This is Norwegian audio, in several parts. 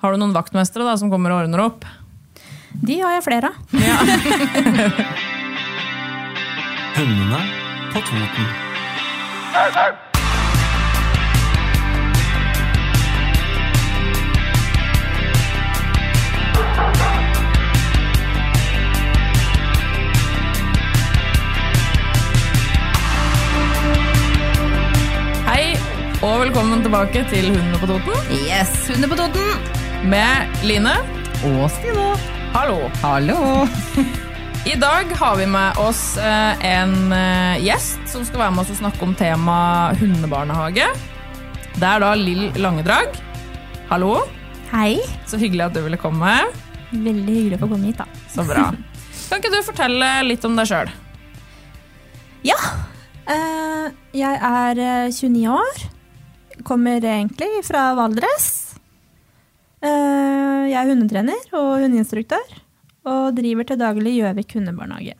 Har du noen vaktmestere da, som kommer og ordner opp? De har jeg flere av. Hundene på Toten. Hei, og velkommen tilbake til Hundene på Toten Yes, Hunder på Toten! med Line. Og Stine. Hallo. Hallo. I dag har vi med oss eh, en eh, gjest som skal være med oss og snakke om temaet hundebarnehage. Det er da Lill Langedrag. Hallo. Hei. Så hyggelig at du ville komme. Veldig hyggelig å få komme hit, da. Så bra. Kan ikke du fortelle litt om deg sjøl? Ja. eh, jeg er eh, 29 år. Kommer egentlig fra Valdres. Eh, jeg er hundetrener og hundeinstruktør. Og driver til daglig Gjøvik hundebarnehage.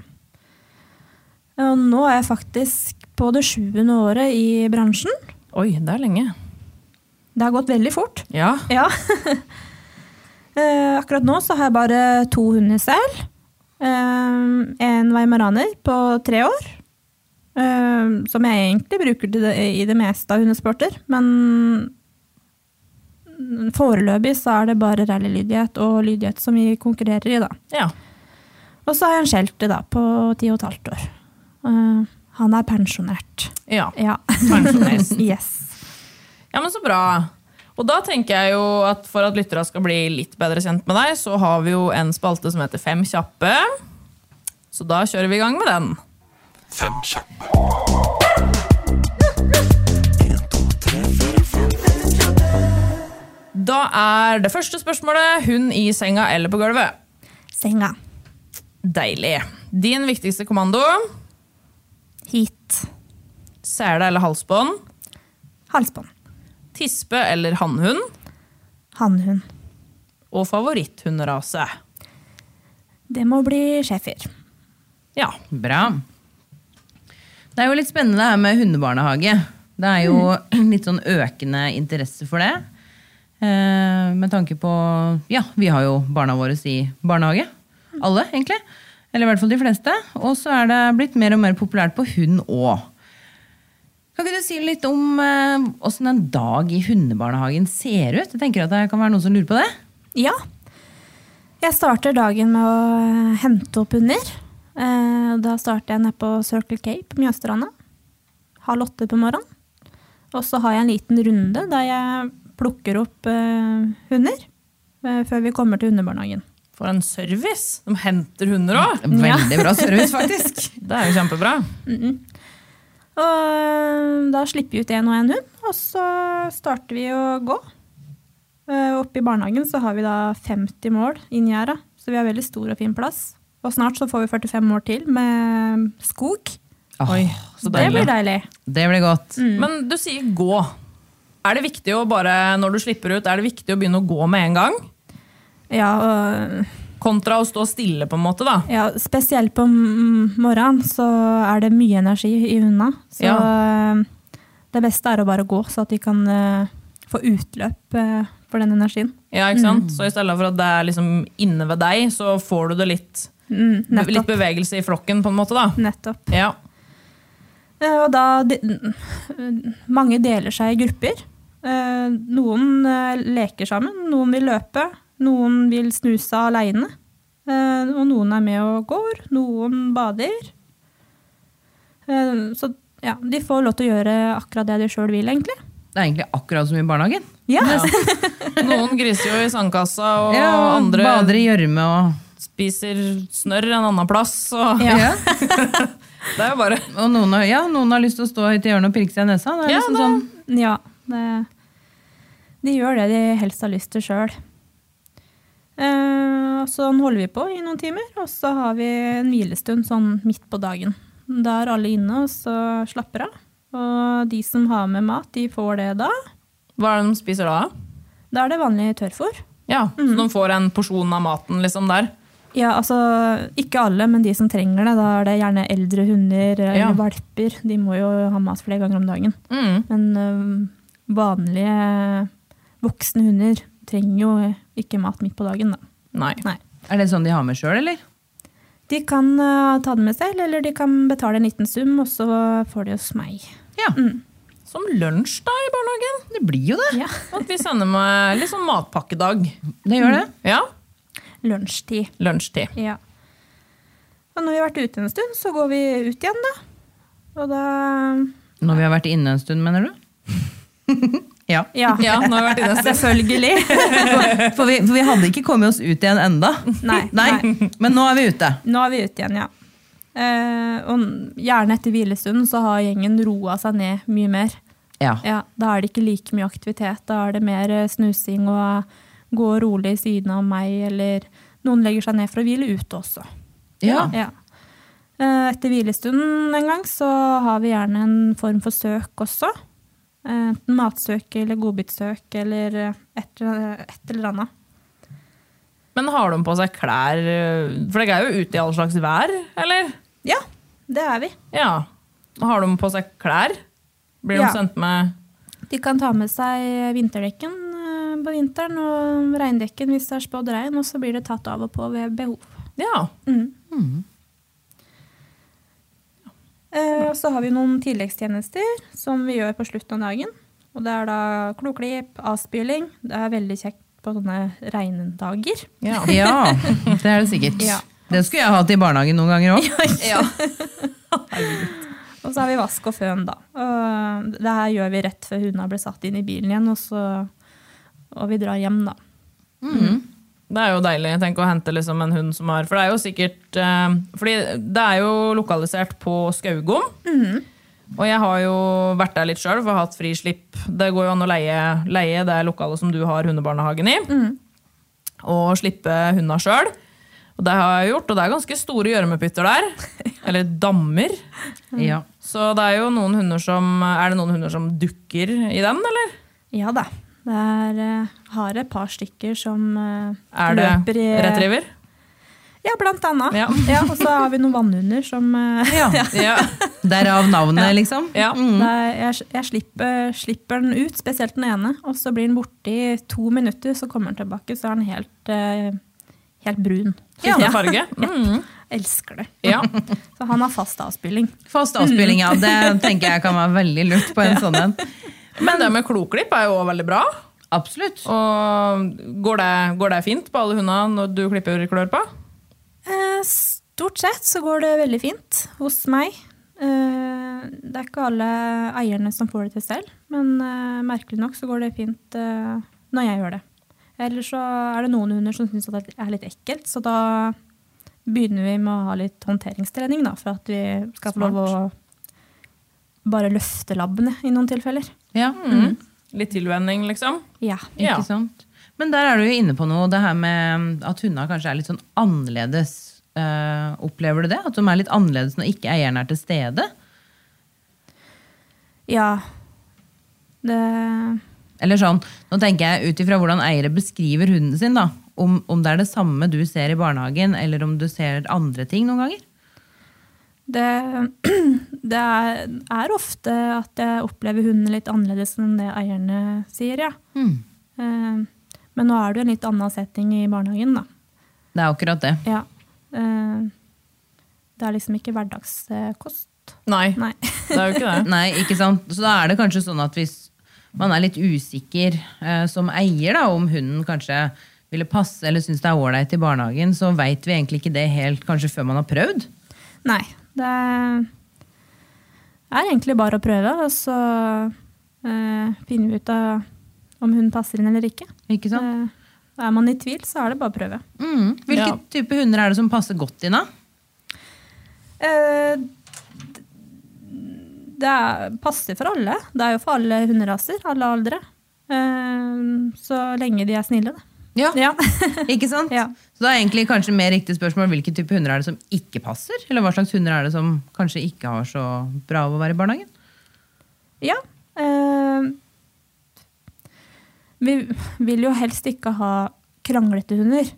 Og nå er jeg faktisk på det sjuende året i bransjen. Oi, det er lenge. Det har gått veldig fort. Ja. Ja. Eh, akkurat nå så har jeg bare to hunder selv. Eh, en weimaraner på tre år. eh, som jeg egentlig bruker til det, i det meste av hundesporter. Men foreløpig så er det bare rallylydighet og lydighet som vi konkurrerer i, da. ja. Og så har jeg en shelter da, på ti og et halvt år. Eh, han er pensjonert. Ja. Ja. Pensjonist. yes. Ja, men så bra. Og da tenker jeg jo at for at lytterne skal bli litt bedre kjent med deg, så har vi jo en spalte som heter Fem kjappe. Så da kjører vi i gang med den. Fem kjappe. Da er det første spørsmålet hun i senga eller på gulvet. Senga. Deilig. Din viktigste kommando Hit. sele eller halsbånd, Halsbånd. tispe eller hannhund Hannhund. og favoritthundrase. Det må bli schæfer. Ja. Bra. Det er jo litt spennende det her med hundebarnehage. Det er jo litt sånn økende interesse for det. Eh, med tanke på Ja, vi har jo barna våre i barnehage. Alle, egentlig. Eller i hvert fall de fleste. Og så er det blitt mer og mer populært på hund òg. Kan ikke du si litt om eh, åssen en dag i hundebarnehagen ser ut? Jeg tenker at det kan være noen som lurer på det. Ja. Jeg starter dagen med å eh, hente opp hunder. Eh, Da starter jeg nede på Circle K på Mjøstranda. Halv åtte på morgenen. Og så har jeg en liten runde der jeg plukker opp eh, hunder eh, før vi kommer til hundebarnehagen. For en service! De henter hunder òg. Mm, Veldig bra service, faktisk. Det er jo kjempebra. Og eh, da slipper vi ut én og én hund, og så starter vi å gå. Eh, Oppe i barnehagen så har vi da 50 mål inni gjerdet, så vi har veldig stor og fin plass. Og snart så får vi 45 mål til med skog. Oi, så Så det deilig. blir deilig. Det blir godt. Mm. Men du sier gå. Er det viktig å bare, når du slipper ut, er det viktig å begynne å gå med en gang? Ja, og, Kontra å stå stille, på en måte, da. ja, spesielt på m- morgenen så er det mye energi i hundene. Så eh, det beste er å bare gå, så at de kan eh, få utløp eh, for den energien. Ja, ikke sant? Mm. Så i stedet for at det er liksom inne ved deg, så får du det litt, Mm, litt nettopp. Mm. bevegelse i flokken, på en måte, da. nettopp. Ja. Eh, Og da de, n- Mange deler seg i grupper. Eh, Noen eh, leker sammen, noen vil løpe, noen vil snuse aleine. Eh, Og noen er med og går, noen bader. Eh, Så ja, de får lov til å gjøre akkurat det de sjøl vil, egentlig. Det er egentlig akkurat som i barnehagen. Ja, Noen griser jo i sandkassa, og Ja, og andre bader i gjørme og spiser snørr en annen plass. Og ja. det er jo bare Og noen har, ja, noen har lyst til å stå høyt i hjørnet og pirke seg i nesa. Sånn Det er Ja, liksom da- sånn, ja det, de gjør det de helst har lyst til sjøl. Eh, sånn holder vi på i noen timer, og så har vi en hvilestund sånn midt på dagen. Da er alle inne og så slapper av. Og de som har med mat, de får det da. Hva er det de spiser da? Da er det vanlig tørrfôr. Ja, Mm. Så de får en porsjon av maten liksom der? Ja, altså, ikke alle, men de som trenger det. Da er det gjerne eldre hunder eller Ja. valper. De må jo ha mat flere ganger om dagen. Mm. Men øhm, vanlige voksne hunder trenger jo ikke mat midt på dagen, da. Nei. Nei. Er det sånn de har med sjøl, eller? De kan øh, ta det med selv, eller de kan betale en liten sum, og så får de hos meg. Ja. Som lunsj da i barnehagen? Det blir jo det. Ja, At vi sender med litt sånn matpakkedag. Det gjør det. Ja, Lunsjtid. lunsjtid. Ja. Og når vi har vært ute en stund, så går vi ut igjen, da. Og da øh, Når vi har vært inne en stund, mener du? ja. Ja, Ja, nå har vi vært inne en stund. selvfølgelig. For vi, for vi hadde ikke kommet oss ut igjen enda. Nei, nei. Men nå er vi ute. Nå er vi ute igjen, ja. Eh, og gjerne etter hvilestunden så har gjengen roa seg ned mye mer. Ja. Ja, da er det ikke like mye aktivitet. Da er det mer eh, snusing og gå rolig i siden av meg, eller noen legger seg ned for å hvile ute også. Ja. Ja. Eh, Etter hvilestunden en gang så har vi gjerne en form for søk også. Eh, Enten matsøk eller godbitsøk eller eh, et, et eller annet. Men har de på seg klær øh, For dere er jo ute i all slags vær, eller? Ja, det er vi. Ja. Har de på seg klær? Blir de Ja. sendt med De kan ta med seg vinterdekken eh, på vinteren og regndekken hvis det er spådd regn, og så blir det tatt av og på ved behov. Ja. Mm. Eh, og så har vi noen tilleggstjenester som vi gjør på slutten av dagen. Og det er da kloklipp, avspyling. Det er veldig kjekt på sånne regndager. ja. ja, det er det sikkert. Ja. Det skulle jeg hatt i barnehagen noen ganger òg. Og så har vi vask og føn, da. Og det her gjør vi rett før hundene blir satt inn i bilen igjen, og, så, og vi drar hjem, da. Det er jo deilig tenk, å hente liksom en hund som har For det er jo sikkert eh, Fordi det er jo lokalisert på Skaugom. Mhm. Og jeg har jo vært der litt sjøl og hatt frislipp. Det går jo an å leie, leie det lokalet som du har hundebarnehagen i, Mhm. og slippe hunda sjøl. Og det har jeg gjort, og det er ganske store gjørmepytter der. Eller dammer. Ja. Så det er jo noen hunder som Er det noen hunder som dukker i den, eller? Ja da. Det er, eh, har et par stykker som eh, Er det løper i retriever? Ja, blant annet. Ja. Ja, og så har vi noen vannhunder som eh, Ja. Derav navnet, liksom. ja. det er, jeg, jeg slipper, slipper den ut, spesielt den ene, og så blir den borte i to minutter, så kommer den tilbake, så er den helt, eh, helt brun. Skifter farge. Mm. Elsker det. Ja. Så han har fast avspilling. Fast avspilling, ja. Det tenker jeg kan være veldig lurt på en sånn en. Men det med kloklipp er jo også veldig bra. Absolutt. Og går det, går det fint på alle hundene når du klipper klør på? Eh, Stort sett så går det veldig fint hos meg. Eh, Det er ikke alle eierne som får det til selv, men eh, merkelig nok så går det fint eh, når jeg gjør det. Eller så er det noen hunder som syns det er litt ekkelt, så da begynner vi med å ha litt håndteringstrening, da, for at vi skal få lov å bare løfte labbene i noen tilfeller. Ja, Mm. Litt tilvenning, liksom? Ja. Ja. ikke sant? Men der er du jo inne på noe, det her med um, at hundene kanskje er litt sånn annerledes. Eh, opplever du det? At de er litt annerledes når ikke eieren er til stede? ja. Det Eller sånn, nå tenker jeg ut ifra hvordan eiere beskriver hunden sin, da. Om, om det er det samme du ser i barnehagen, eller om du ser andre ting noen ganger. Det, det er, er ofte at jeg opplever hundene litt annerledes enn det eierne sier, ja. Eh, men nå er det jo en litt annen setting i barnehagen, da. Det er akkurat det. Ja. Eh, det er liksom ikke hverdagskost. Nei, Nei. det er jo ikke det. Nei, ikke sant? Så da er det kanskje sånn at hvis man er litt usikker eh, som eier, da, om hunden kanskje ville passe eller syns det er ålreit i barnehagen, så veit vi egentlig ikke det helt kanskje før man har prøvd. Nei. Det er egentlig bare å prøve, og så eh, finner vi ut av om hunden passer inn eller ikke. Ikke Eh, sant? er man i tvil, så er det bare å prøve. Mm. Hvilke Ja. type hunder er det som passer godt inn, da? Eh, d- det er, passer for alle. Det er jo for alle hunderaser, alle aldre. Eh, så lenge de er snille, da. Ja. Ja. Ikke sant? Ja. Så da er egentlig kanskje mer riktig spørsmål hvilke type hunder er det som ikke passer? Eller hva slags hunder er det som kanskje ikke har så bra av å være i barnehagen? Ja. eh, vi vil jo helst ikke ha kranglete hunder.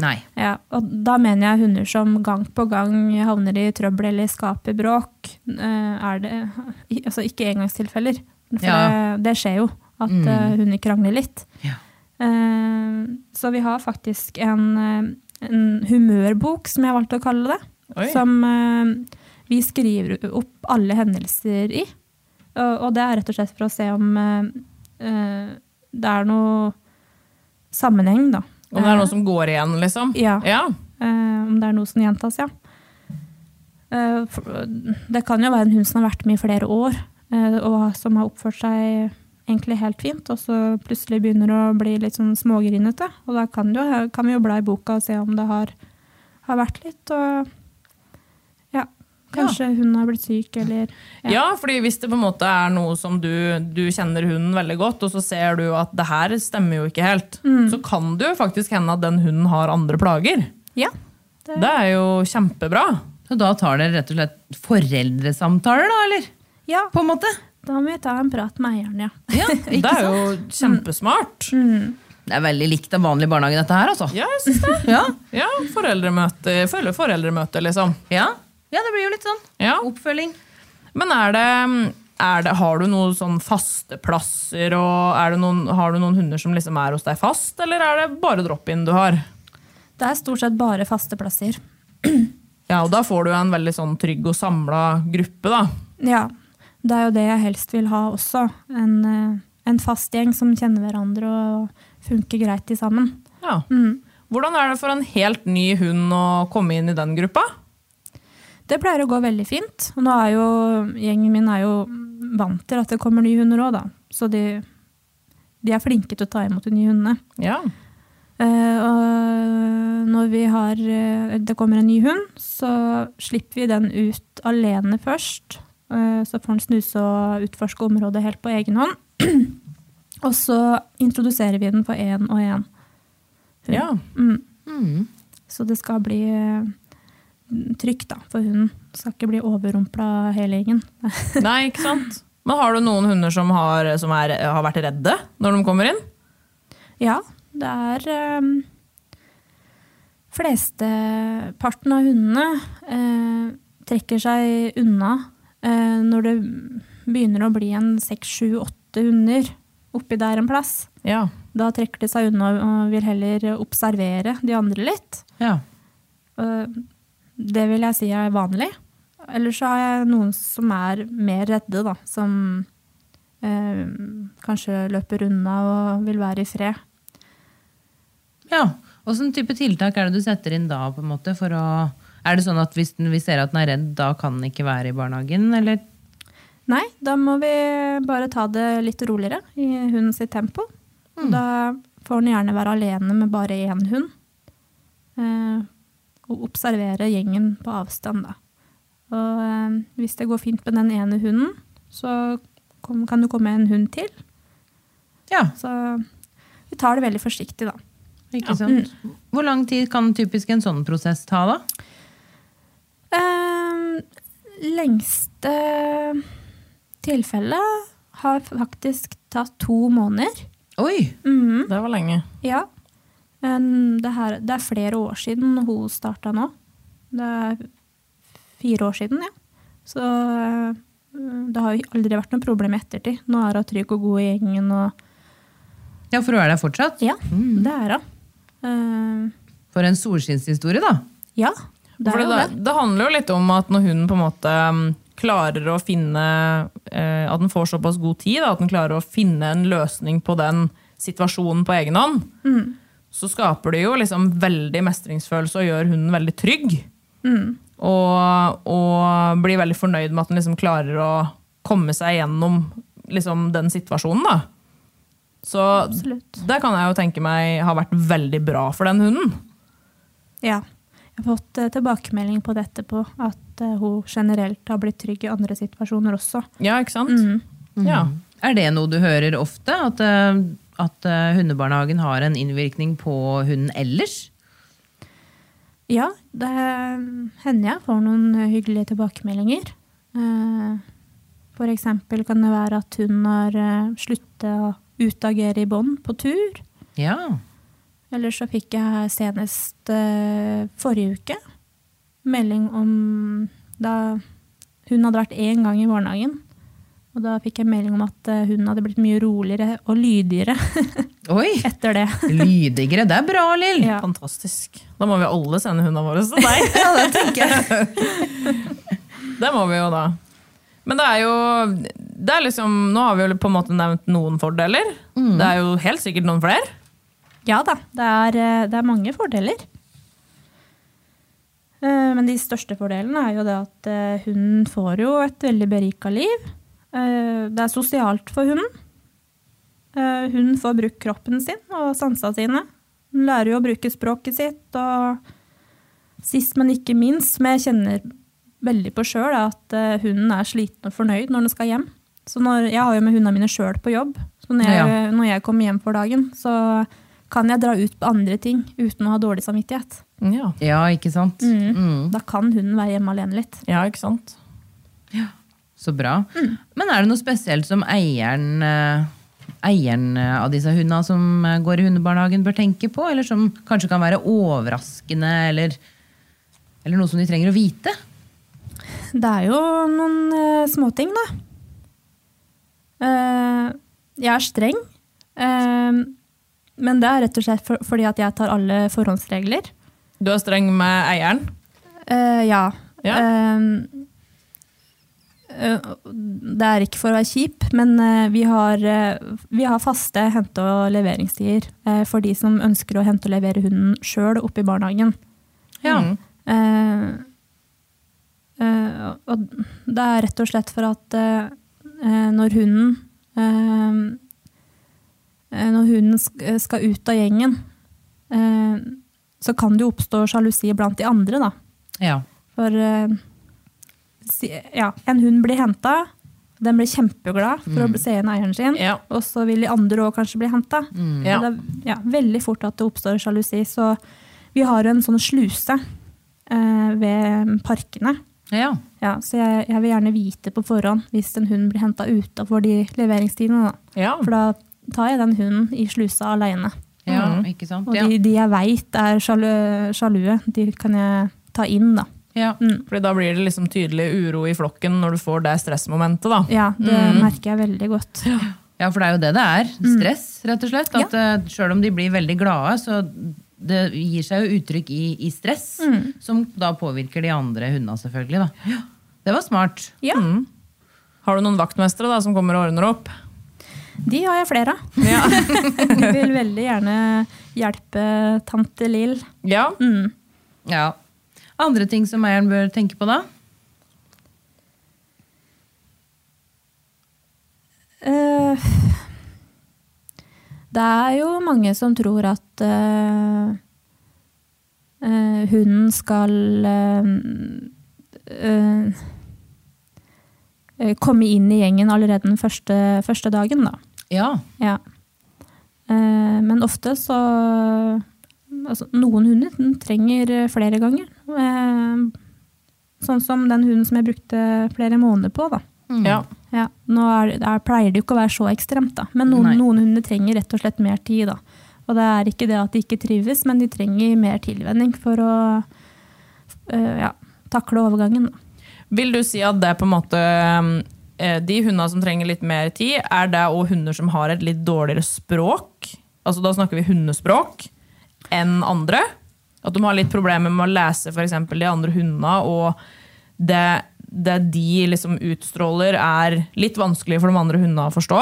Nei. Ja, og da mener jeg hunder som gang på gang havner i trøbbel eller skaper bråk. Eh, Er det, i- altså ikke engangstilfeller, for Ja. det, det skjer jo at Mm. eh, hunder krangler litt. Ja. Eh, Så vi har faktisk en, eh, en humørbok, som jeg valgte å kalle det, Oi. som eh, vi skriver opp alle hendelser i. Og og det er rett og slett for å se om eh, eh, det er noe sammenheng, da. Om det er noe som går igjen, liksom? Ja. ja. Eh, om det er noe som gjentas, ja. Eh, for, det kan jo være en hund som har vært med i flere år, eh, og som har oppført seg egentlig helt fint, og så plutselig begynner å bli litt sånn smågrinete. Og da kan, det jo, kan vi jo bla i boka og se om det har, har vært litt, og ja, kanskje hun har blitt syk, eller Ja. fordi hvis det på en måte er noe som du, du kjenner hunden veldig godt, og så ser du at det her stemmer jo ikke helt, så kan det jo faktisk hende at den hunden har andre plager. Ja. Det er jo kjempebra. Så da tar dere rett og slett foreldresamtaler, da, eller? Ja, På en måte? da må vi ta en prat med eieren, ja. Ja, Det ikke er sant? jo kjempesmart. Det er veldig likt den vanlige barnehagen, dette her, altså. Ja, jeg syns det. Ja. Ja, foreldremøte, følge foreldremøte, liksom. Ja. ja, det blir jo litt sånn. Ja. Oppfølging. Men er det, er det Har du noen sånn faste plasser, og er det noen, har du noen hunder som liksom er hos deg fast, eller er det bare drop-in du har? Det er stort sett bare faste plasser. Ja, og da får du en veldig sånn trygg og samla gruppe, da. Ja, det er jo det jeg helst vil ha også. En, eh, en fast gjeng som kjenner hverandre og funker greit i sammen. Ja. Hvordan er det for en helt ny hund å komme inn i den gruppa? Det pleier å gå veldig fint. Og nå er jo gjengen min er jo vant til at det kommer nye hunder òg, da. Så de, de er flinke til å ta imot de nye hundene. Ja. Eh, og når vi har, eh, det kommer en ny hund, så slipper vi den ut alene først. Eh, så får den snuse og utforske området helt på egen hånd. og så introduserer vi den for én og én. ja. Mm. Mm. Så det skal bli eh, trygt da, for hunden. Skal ikke bli overrumpla hele gjengen. Nei, ikke sant? Men har du noen hunder som har, som er, har vært redde når de kommer inn? Ja, det er ehm, Flesteparten av hundene eh, trekker seg unna eh, når det begynner å bli en seks, sju, åtte hunder oppi der en plass. Ja. Da trekker de seg unna og vil heller observere de andre litt. Ja. Eh, Det vil jeg si er vanlig. Eller så har jeg noen som er mer redde, da. Som eh, kanskje løper unna og vil være i fred. ja. Åssen type tiltak er det du setter inn da, på en måte, for å Er det sånn at hvis den- vi ser at den er redd, da kan den ikke være i barnehagen, eller? Nei, da må vi bare ta det litt roligere i hunden sitt tempo. Og da får den gjerne være alene med bare én hund. Eh, og observere gjengen på avstand, da. Og eh, hvis det går fint med den ene hunden, så kom, kan det komme en hund til. Ja, Så vi tar det veldig forsiktig, da. ikke sant. Hvor lang tid kan typisk en sånn prosess ta, da? Eh, lengste tilfellet har faktisk tatt to måneder. Oi! Mhm. Det var lenge. Ja. Men det, her, det er flere år siden hun starta nå. Det er fire år siden, ja. Så eh, det har jo aldri vært noe problem i ettertid. Nå er hun trygg og god i gjengen og Ja, for hun er der fortsatt? Ja, det er hun. Eh, For en solskinnshistorie, da. ja, det er For jo det, det. det handler jo litt om at når hunden på en måte mm, klarer å finne eh, At den får såpass god tid, da, at den klarer å finne en løsning på den situasjonen på egen hånd, Mm. så skaper det jo liksom veldig mestringsfølelse og gjør hunden veldig trygg. Mm. Og, og blir veldig fornøyd med at den liksom klarer å komme seg gjennom liksom, den situasjonen. Da. Så Absolutt. det kan jeg jo tenke meg har vært veldig bra for den hunden. Ja. Jeg har fått eh, tilbakemelding på det etterpå, at eh, hun generelt har blitt trygg i andre situasjoner også. Ja, ikke sant? Ja. Er det noe du hører ofte? At, eh, at eh, hundebarnehagen har en innvirkning på hunden ellers? Ja, det hender jeg får noen eh, hyggelige tilbakemeldinger. Eh, For eksempel kan det være at hun har eh, sluttet å utagere i bånd på tur. Ja. Eller så fikk jeg senest eh, forrige uke melding om da hun hadde vært én gang i barnehagen. Og da fikk jeg melding om at eh, hun hadde blitt mye roligere og lydigere Oi! etter det. Lydigere. Det er bra, Lill! Ja. Fantastisk. Da må vi alle sende hundene våre til deg. Ja, det tenker jeg. Det må vi jo da. Men det er jo det er liksom, Nå har vi jo på en måte nevnt noen fordeler. Det er jo helt sikkert noen flere. Ja da, det er, eh, det er mange fordeler. Eh, Men de største fordelene er jo det at eh, hunden får jo et veldig berika liv. Eh, Det er sosialt for hunden. Eh, Hunden får brukt kroppen sin og sansa sine. Hun lærer jo å bruke språket sitt, og sist, men ikke minst, som jeg kjenner veldig på sjøl, er at eh, hunden er sliten og fornøyd når den skal hjem. Så når, jeg har jo med hundene mine sjøl på jobb, så når jeg, Ja. når jeg kommer hjem for dagen, så kan jeg dra ut på andre ting uten å ha dårlig samvittighet. Ja, Ja, ikke sant? Mm. Da kan hunden være hjemme alene litt. ja ikke sant? Så bra. Men er det noe spesielt som eieren, eh, eieren eh, av disse hundene som eh, går i hundebarnehagen bør tenke på? Eller som kanskje kan være overraskende, eller, eller noe som de trenger å vite? Det er jo noen eh, småting, da. Eh, jeg er streng, eh, men det er rett og slett for, fordi at jeg tar alle forhåndsregler. Du er streng med eieren. Eh, ja. Ja. Eh, eh, det er ikke for å være kjip, men eh, vi, har, eh, vi har faste hente- og leveringstider eh, for de som ønsker å hente og levere hunden sjøl oppe i barnehagen. Ja. Mm. Eh, eh, og det er rett og slett for at eh, eh, når hunden eh, eh, Når hunden sk- skal ut av gjengen, eh, så kan det jo oppstå sjalusi blant de andre, da. Ja. For eh, si- ja, en hund blir henta, den blir kjempeglad for å se igjen eieren sin. Mm. Ja. Mm. Og så vil de andre òg kanskje bli henta. Ja. Det er ja, veldig fort at det oppstår sjalusi. Så vi har en sånn sluse eh, ved parkene. Ja. Ja, så jeg, jeg vil gjerne vite på forhånd hvis en hund blir henta utafor de leveringstidene. Da. Ja. For da tar jeg den hunden i slusa aleine. ja Mm. ikke sant? Og Ja. de, de jeg veit er sjalu, sjalue, de kan jeg ta inn, da. Ja. Fordi da blir det liksom tydelig uro i flokken når du får det stressmomentet. da. Ja, det merker jeg veldig godt. ja, for det er jo det det er. Stress, rett og slett. At eh, Selv om de blir veldig glade, så det gir seg jo uttrykk i, i stress. Som da påvirker de andre hundene, selvfølgelig. Da. Det var smart. Ja, Mm. Har du noen vaktmestere da, som kommer og ordner opp? de har jeg flere av. jeg vil veldig gjerne hjelpe tante Lill. Ja. Ja. Andre ting som eieren bør tenke på da? Eh, det er jo mange som tror at eh, eh, hunden skal eh, eh, eh, komme inn i gjengen allerede den første, første dagen, da. Ja. Ja. Eh, men ofte så altså, Noen hunder den trenger eh, flere ganger. Eh, sånn som den hunden som jeg brukte flere måneder på. Da. Mm. ja. Ja, nå er, det- der pleier det jo ikke å være så ekstremt, da. men noen, Nei. noen hunder trenger rett og slett mer tid. Da. Og det er ikke det at de ikke trives, men de trenger mer tilvenning for å eh, ja, takle overgangen. Da. Vil du si at det er på en måte eh, De hundene som trenger litt mer tid, er det òg hunder som har et litt dårligere språk? Altså Da snakker vi hundespråk enn andre. At de har litt problemer med å lese for eksempel de andre hundene, og det, det de liksom utstråler, er litt vanskelig for de andre hundene å forstå.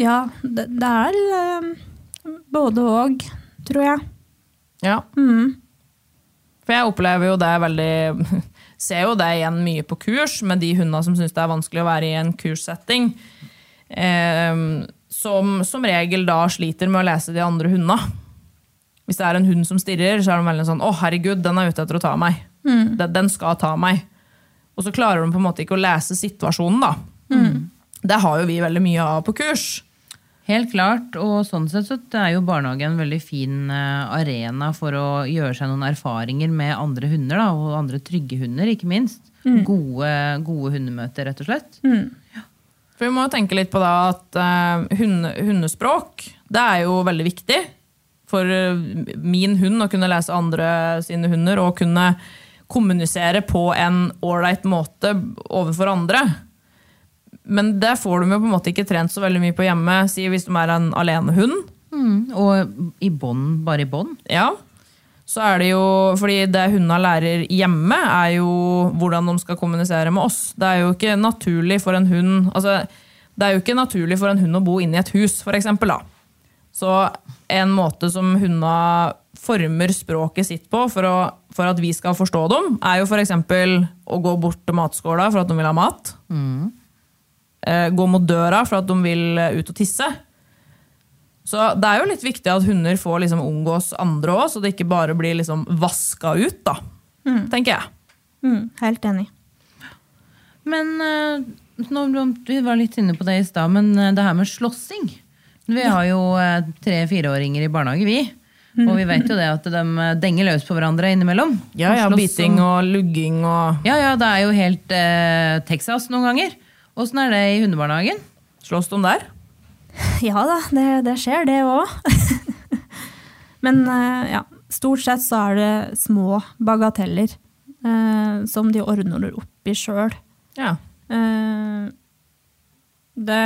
Ja, det, det er eh, både og, tror jeg. Ja. Mm. For jeg opplever jo det veldig Ser jo det igjen mye på kurs med de hundene som syns det er vanskelig å være i en kurssetting. Eh, som som regel da sliter med å lese de andre hundene. Hvis det er en hund som stirrer, så er de veldig sånn 'Å, herregud, den er ute etter å ta meg'. Den, den skal ta meg. Og så klarer de på en måte ikke å lese situasjonen, da. Det har jo vi veldig mye av på kurs. Helt klart, og sånn sett så er jo barnehagen en veldig fin eh, arena for å gjøre seg noen erfaringer med andre hunder, da, og andre trygge hunder, ikke minst. Gode, gode hundemøter, rett og slett. For vi må jo tenke litt på da at eh, hunde, hundespråk, det er jo veldig viktig for eh, min hund å kunne lese andre sine hunder og kunne kommunisere på en ålreit måte overfor andre. Men det får de jo på en måte ikke trent så veldig mye på hjemme, si hvis de er en alenehund. Mm, og i bånd, bare i bånd. Ja. Så er det jo, fordi det hundene lærer hjemme, er jo hvordan de skal kommunisere med oss. Det er jo ikke naturlig for en hund altså, Det er jo ikke naturlig for en hund å bo inne i et hus, for eksempel, da. Så en måte som hundene former språket sitt på for, å, for at vi skal forstå dem, er jo f.eks. å gå bort til matskåla for at de vil ha mat. Eh, gå mot døra for at de vil eh, ut og tisse. Så det er jo litt viktig at hunder får liksom omgås andre òg, så det ikke bare blir liksom vaska ut, da. Tenker jeg. Mm, helt enig. Men eh, nå, vi var litt inne på det i stad, men eh, det her med slåssing Vi har jo eh, tre-fireåringer i barnehage, vi. Mm. Og vi vet jo det at de eh, denger løs på hverandre innimellom. Ja, ja, Slåss og- Biting og lugging og Ja, ja, det er jo helt eh, Texas noen ganger. Åssen er det i hundebarnehagen? Slåss de der? Ja da, det, det skjer det òg. Men eh, ja, stort sett så er det små bagateller eh, som de ordner opp i sjøl. Ja. Eh, det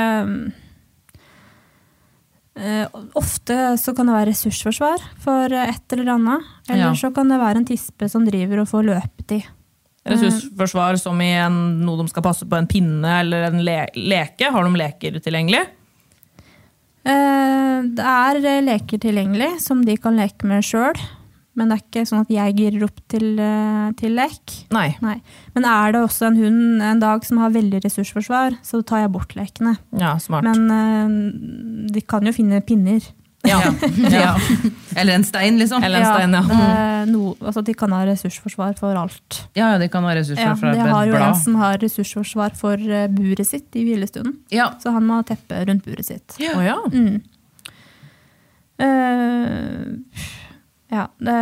eh, Ofte så kan det være ressursforsvar for et eller annet. Eller Ja. så kan det være en tispe som driver og får løpetid. Mm. Ressursforsvar som i en, noe de skal passe på, en pinne eller en le leke. Har de leker tilgjengelig? Eh, Det er eh, leker tilgjengelig som de kan leke med sjøl. Men det er ikke sånn at jeg girer opp til, eh, til lek. Nei. Nei. Men er det også en hund en dag som har veldig ressursforsvar, så tar jeg bort lekene. Ja, smart. Men eh, de kan jo finne pinner. ja. ja. Eller en stein, liksom. Eller en stein, ja. det er no, altså de kan ha ressursforsvar for alt. Ja, ja, det kan ha ressurser Ja, fra det et har jo en blad. som har ressursforsvar for eh, buret sitt i hvilestunden. Ja. Så han må ha teppe rundt buret sitt. Å ja. Mm. Eh, ja, det,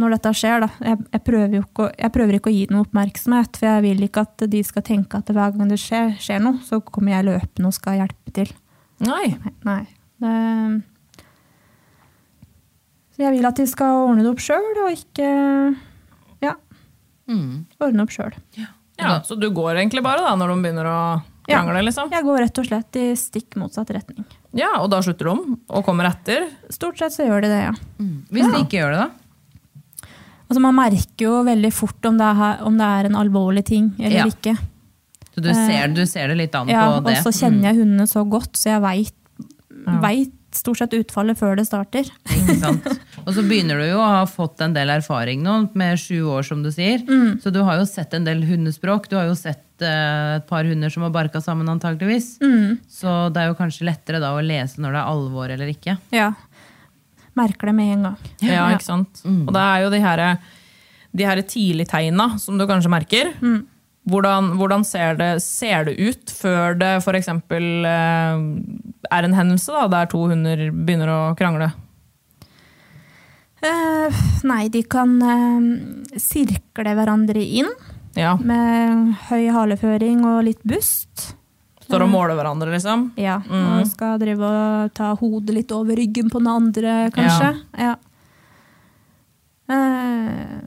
når dette skjer, da jeg, jeg, prøver jo ikke, å- jeg prøver ikke å gi noe oppmerksomhet, for jeg vil ikke at de skal tenke at hver gang det skjer, skjer noe, så kommer jeg løpende og skal hjelpe til. Nei. Nei. nei. Det, så jeg vil at de skal ordne det opp sjøl, og ikke Ja, Mm. ordne opp sjøl. Ja, så du går egentlig bare da når de begynner å Ja. krangle, liksom? Jeg går rett og slett i stikk motsatt retning. Ja, og da slutter de og kommer etter? Stort sett så gjør de det, ja. Hvis de ikke gjør det, da? Altså Man merker jo veldig fort om det er, om det er en alvorlig ting eller Ja. ikke. Så Eh, du ser, du ser det litt an Ja, på og det? så kjenner Mm. jeg hundene så godt, så jeg veit stort sett utfallet før det starter. Ikke sant? Og så begynner du jo å ha fått en del erfaring nå, med sju år, som du sier. Mm. Så du har jo sett en del hundespråk. Du har jo sett eh, et par hunder som har barka sammen, antakeligvis. Mm. Så det er jo kanskje lettere da å lese når det er alvor eller ikke. Ja. Merker det med en gang. Ja, Mm. ikke sant? Og det er jo de her, de her tidligtegna som du kanskje merker. Hvordan, hvordan ser, det, ser det ut før det f.eks. er en hendelse da, der to hunder begynner å krangle? Eh, nei, de kan eh, sirkle hverandre inn Ja, med høy haleføring og litt bust. Står og måler hverandre, liksom? Ja, Og skal drive og ta hodet litt over ryggen på den andre, kanskje. Ja. Eh,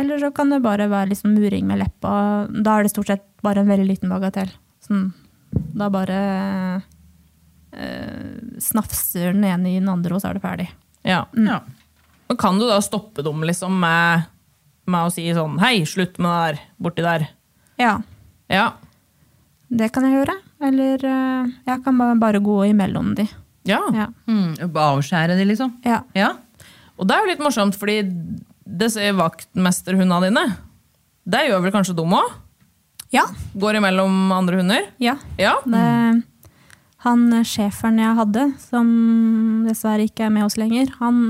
eller så kan det bare være liksom muring med leppa. Da er det stort sett bare en veldig liten bagatell. Sånn, da bare eh, snafser den ene i den andre, og så er det ferdig. Ja. Mm. Ja. Men kan du da stoppe dem liksom med, med å si sånn Hei, slutt med det der borti der. Ja, Ja. det kan jeg gjøre. Eller eh, jeg kan ba- bare gå imellom de. ja. Ja. Mm, avskjære de, liksom. ja. Ja. Og det er jo litt morsomt, fordi disse vaktmesterhundene dine, det gjør vel kanskje dem òg? Ja. Går imellom andre hunder? ja. Ja. Det, han eh, sjeferen jeg hadde, som dessverre ikke er med oss lenger, han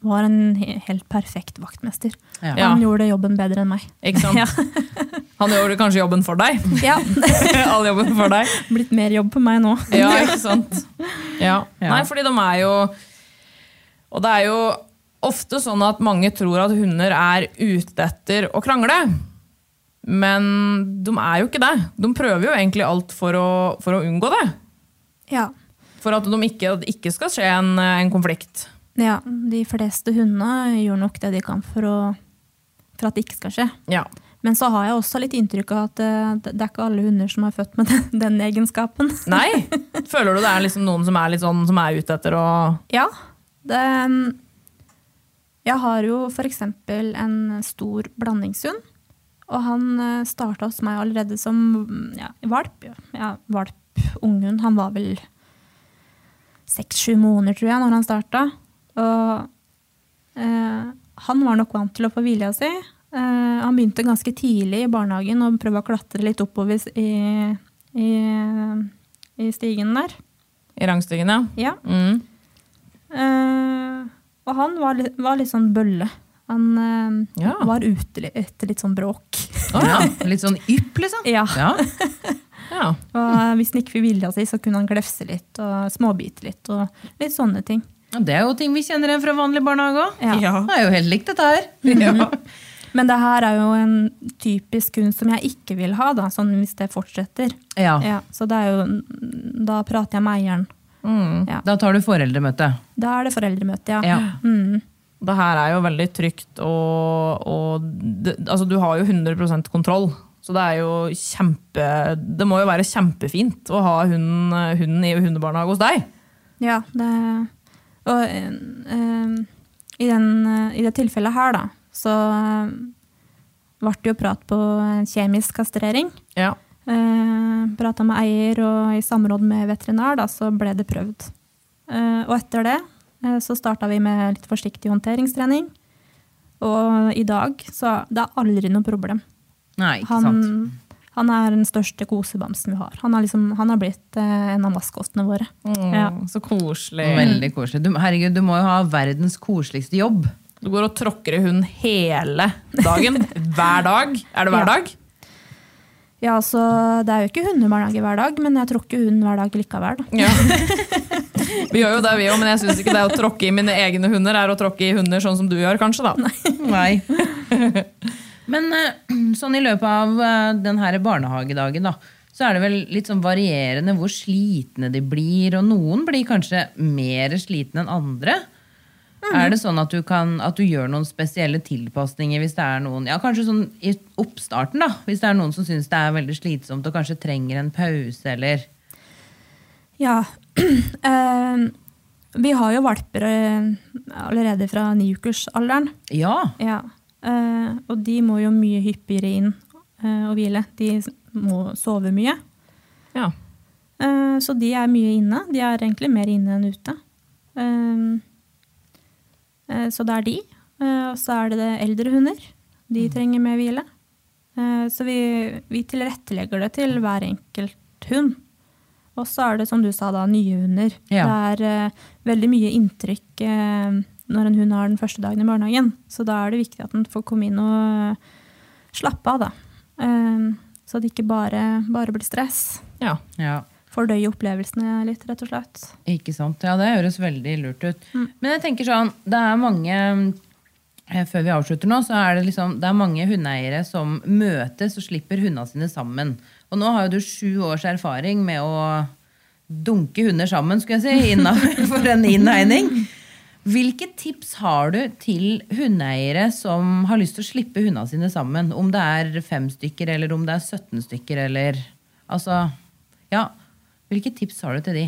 var en he- helt perfekt vaktmester. Ja. Han gjorde jobben bedre enn meg. Ikke sant? Han gjør kanskje jobben for deg. Ja, All jobben for deg. Blitt mer jobb på meg nå. Ja, ikke sant? Ja. Nei, fordi de er jo Og det er jo ofte sånn at mange tror at hunder er ute etter å krangle. Men de er jo ikke det. De prøver jo egentlig alt for å, for å unngå det. Ja. For at de ikke, at det ikke skal skje en, en konflikt. ja, de fleste hundene gjør nok det de kan for, å, for at det ikke skal skje. Ja. Men så har jeg også litt inntrykk av at eh, det det er ikke alle hunder som er født med den, den egenskapen. Nei? Føler du det er liksom noen som er litt sånn som er ute etter å Ja, det, eh, jeg har jo for eksempel en stor blandingshund, og han eh, startet hos meg allerede som mm, ja, valp. ja. Ja, valp, unghund. Han var vel seks-sju måneder, tror jeg, når han startet. Og eh, han var nok vant til å få vilja si. Eh, han begynte ganske tidlig i barnehagen og prøvde å klatre litt oppover s- i, i, i stigen der. I rangstigen, ja. Ja. Mm. Eh, og han var, li- var litt sånn bølle. Han eh, Ja. var ute li- etter litt sånn bråk. Å, ja. Litt sånn ypp, liksom. Ja. Ja. ja. Og eh, hvis han ikke fikk vilja si, så kunne han glefse litt og småbite litt. og Litt sånne ting. Og Det er jo ting vi kjenner igjen fra vanlig barnehage òg. Ja. Mm. Det er jo helt likt, dette her. Men det her er jo en typisk hund som jeg ikke vil ha, da, sånn hvis det fortsetter. Ja. Ja, så det er jo, da prater jeg med eieren. Ja. Da tar du foreldremøte. Da er det foreldremøte, ja. Ja. Mm. Det her er jo veldig trygt, og, og det, altså, du har jo 100 kontroll. Så det er jo kjempe Det må jo være kjempefint å ha hunden, hunden i hundebarnehage hos deg. Ja, det, og eh, eh, i, den, eh, i det tilfellet her, da, så eh, ble det jo prat på eh, kjemisk kastrering. Ja. Eh, Prata med eier, og i samråd med veterinær da, så ble det prøvd. Eh, og etter det eh, så starta vi med litt forsiktig håndteringstrening. Og i dag så det er aldri noe problem. Nei, ikke Han, sant. han er den største kosebamsen vi har. Han har, liksom, han har blitt eh, en av maskotene våre. Mm. Ja. Så koselig. Veldig koselig. Du, herregud, du må jo ha verdens koseligste jobb. Du går og tråkker i hunden hele dagen. Hver dag. Er det hver Ja. dag? Ja, altså, Det er jo ikke hundebarnehage hver dag, men jeg tråkker hund hver dag likevel. da. Ja. Vi gjør jo det, vi òg, men jeg syns ikke det å tråkke i mine egne hunder er å tråkke i hunder sånn som du gjør, kanskje. da. Nei. Men eh, sånn i løpet av eh, den her barnehagedagen, da, så er det vel litt sånn varierende hvor slitne de blir. Og noen blir kanskje mer slitne enn andre. Er det sånn at du, kan, at du gjør noen spesielle tilpasninger hvis det er noen ja, kanskje sånn i oppstarten da, hvis det er noen som syns det er veldig slitsomt og kanskje trenger en pause? eller... Ja, eh, Vi har jo valper eh, allerede fra niukersalderen. Ja, Ja. eh, og de må jo mye hyppigere inn eh, og hvile. De s- må sove mye. Ja. Eh, så de er mye inne. De er egentlig mer inne enn ute. Ehm, Eh, eh, så det er de. Eh, og så er det, det eldre hunder. De trenger mer hvile. Eh, så vi, vi tilrettelegger det til hver enkelt hund. Og så er det, som du sa, da, nye hunder. Ja. Det er eh, veldig mye inntrykk eh, når en hund har den første dagen i barnehagen. Så da er det viktig at den får komme inn og slappe av, da. Eh, så det ikke bare, bare blir stress Ja. ja. fordøye opplevelsene litt, rett og slett. Ikke sant. Ja, det høres veldig lurt ut. Men jeg tenker sånn, det er mange eh, Før vi avslutter nå, så er det liksom Det er mange hundeeiere som møtes og slipper hundene sine sammen. Og nå har jo du sju års erfaring med å dunke hunder sammen, skulle jeg si, innenfor en innhegning. Hvilke tips har du til hundeeiere som har lyst til å slippe hundene sine sammen? Om det er fem stykker, eller om det er 17 stykker, eller Altså, ja. Hvilke tips har du til de?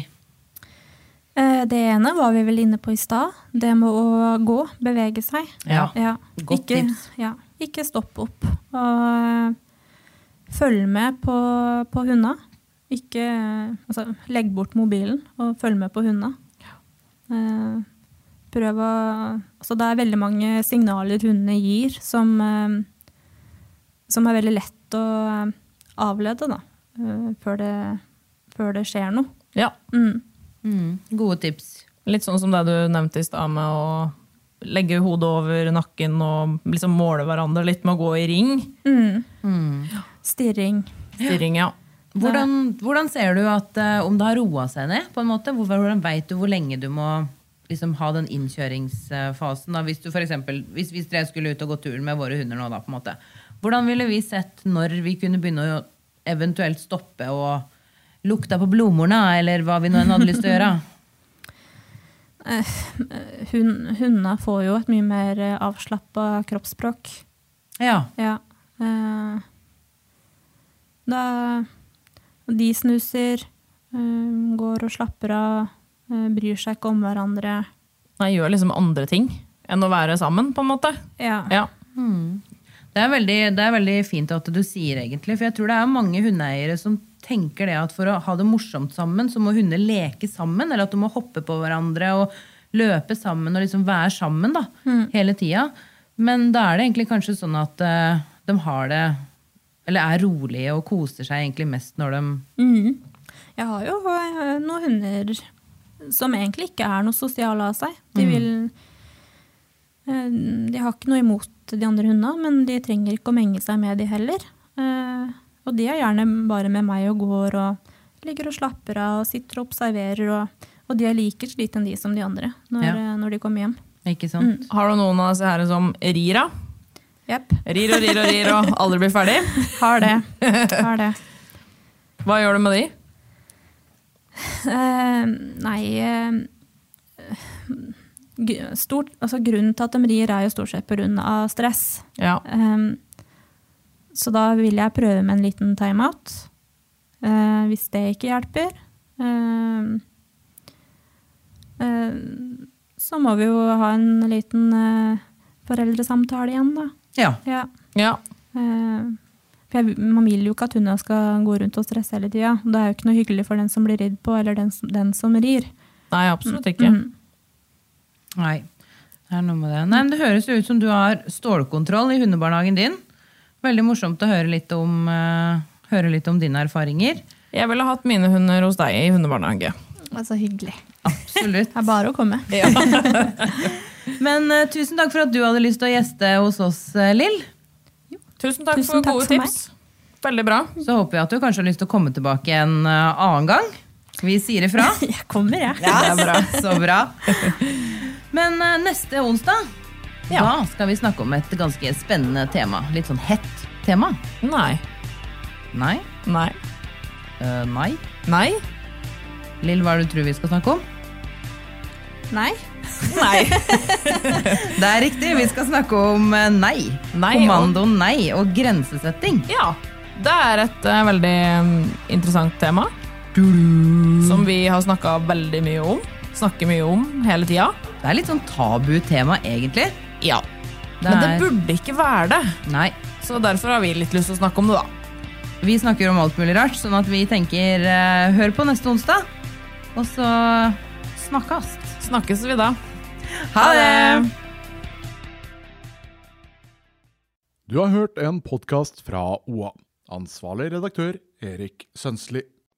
Eh, Det ene var vi vel inne på i stad. Det med å gå, bevege seg. Ja. ikke, Godt tips. Ja, ikke stopp opp. Og eh, følg med på, på hundene. Ikke eh, altså, legg bort mobilen og følg med på hundene. Eh, Prøv å altså, Det er veldig mange signaler hundene gir som, eh, som er veldig lett å eh, avlede da, eh, før det, før det skjer noe. ja. Mm. Mm, gode tips. Litt sånn som det du nevnte i stad, med å legge hodet over nakken og liksom måle hverandre litt med å gå i ring. Mm. stirring. Stirring, ja. Hvordan, hvordan ser du at eh, om det har roa seg ned? på en måte? Hvor- Hvordan veit du hvor lenge du må liksom, ha den innkjøringsfasen? Da? Hvis, du for eksempel, hvis, hvis dere skulle ut og gå turen med våre hunder nå, da, på en måte. hvordan ville vi sett når vi kunne begynne å eventuelt stoppe og lukta på blodmorna, eller hva vi nå enn hadde lyst til å gjøre? Eh, Hun, hundene får jo et mye mer avslappa kroppsspråk. Ja. Ja. eh, da De snuser, eh, går og slapper av, eh, bryr seg ikke om hverandre. Nei, gjør liksom andre ting enn å være sammen, på en måte. Ja. Ja. Det er, veldig, det er veldig fint at du sier, egentlig. For jeg tror det er mange hundeeiere som tenker det at for å ha det morsomt sammen, så må hunder leke sammen. Eller at de må hoppe på hverandre og løpe sammen og liksom være sammen da, hele tida. Men da er det egentlig kanskje sånn at eh, de har det Eller er rolige og koser seg egentlig mest når de Jeg har jo eh, noen hunder som egentlig ikke er noe sosiale av seg. De vil eh, De har ikke noe imot de andre hundene, men de trenger ikke å menge seg med de heller. Eh, Og de er gjerne bare med meg og går og ligger og slapper av og sitter og observerer. Og, og de er like sliten de som de andre når, Ja. eh, når de kommer hjem. Ikke sant? Har du noen av disse her som rir, da? Jepp. Rir og rir og rir og aldri blir ferdig? Har det. Har det. Hva gjør du med de? Eh, nei eh, gr- stort, altså Grunnen til at de rir, er jo stort sett pga. stress. Ja. Ehm, så da vil jeg prøve med en liten timeout. Eh, hvis det ikke hjelper. ehm, ehm, så må vi jo ha en liten eh, foreldresamtale igjen, da. Ja. Ja. ja. Ehm, for jeg, man vil jo ikke at hundene skal gå rundt og stresse hele tida. Det er jo ikke noe hyggelig for den som blir ridd på, eller den som, den som rir. Nei, absolutt ikke. Mm-hmm. Nei. Det er noe med det. Nei, men det høres jo ut som du har stålkontroll i hundebarnehagen din. Veldig morsomt å høre litt om, eh, høre litt om dine erfaringer. Jeg ville hatt mine hunder hos deg i hundebarnehage. Altså hyggelig. Absolutt. Det er bare å komme. Men eh, tusen takk for at du hadde lyst til å gjeste hos oss, eh, Lill. Tusen takk Tusen for takk gode for meg. tips. Veldig bra. Så håper jeg at du kanskje har lyst til å komme tilbake en eh, annen gang. Vi sier ifra. Jeg kommer, jeg. Det er bra. Så bra. Men eh, neste onsdag da skal vi snakke om et ganske spennende tema. Litt sånn hett tema. Nei. Nei? Nei. Eh, nei? Nei. Lill, hva er det du tror vi skal snakke om? Nei. Det er riktig, vi skal snakke om eh, nei. Nei, Kommando nei og grensesetting. Ja. Det er et eh, veldig mm, interessant tema. Som vi har snakka veldig mye om. Snakker mye om hele tida. Det er litt sånn tabu tema, egentlig. Ja. Det Men det er- burde ikke være det. Nei. Så derfor har vi litt lyst til å snakke om det, da. Vi snakker om alt mulig rart, sånn at vi tenker eh, hør på neste onsdag, og så snakkes. Snakkes vi da. Ha det! Du har hørt en podkast fra OA. Ansvarlig redaktør Erik Sønsli.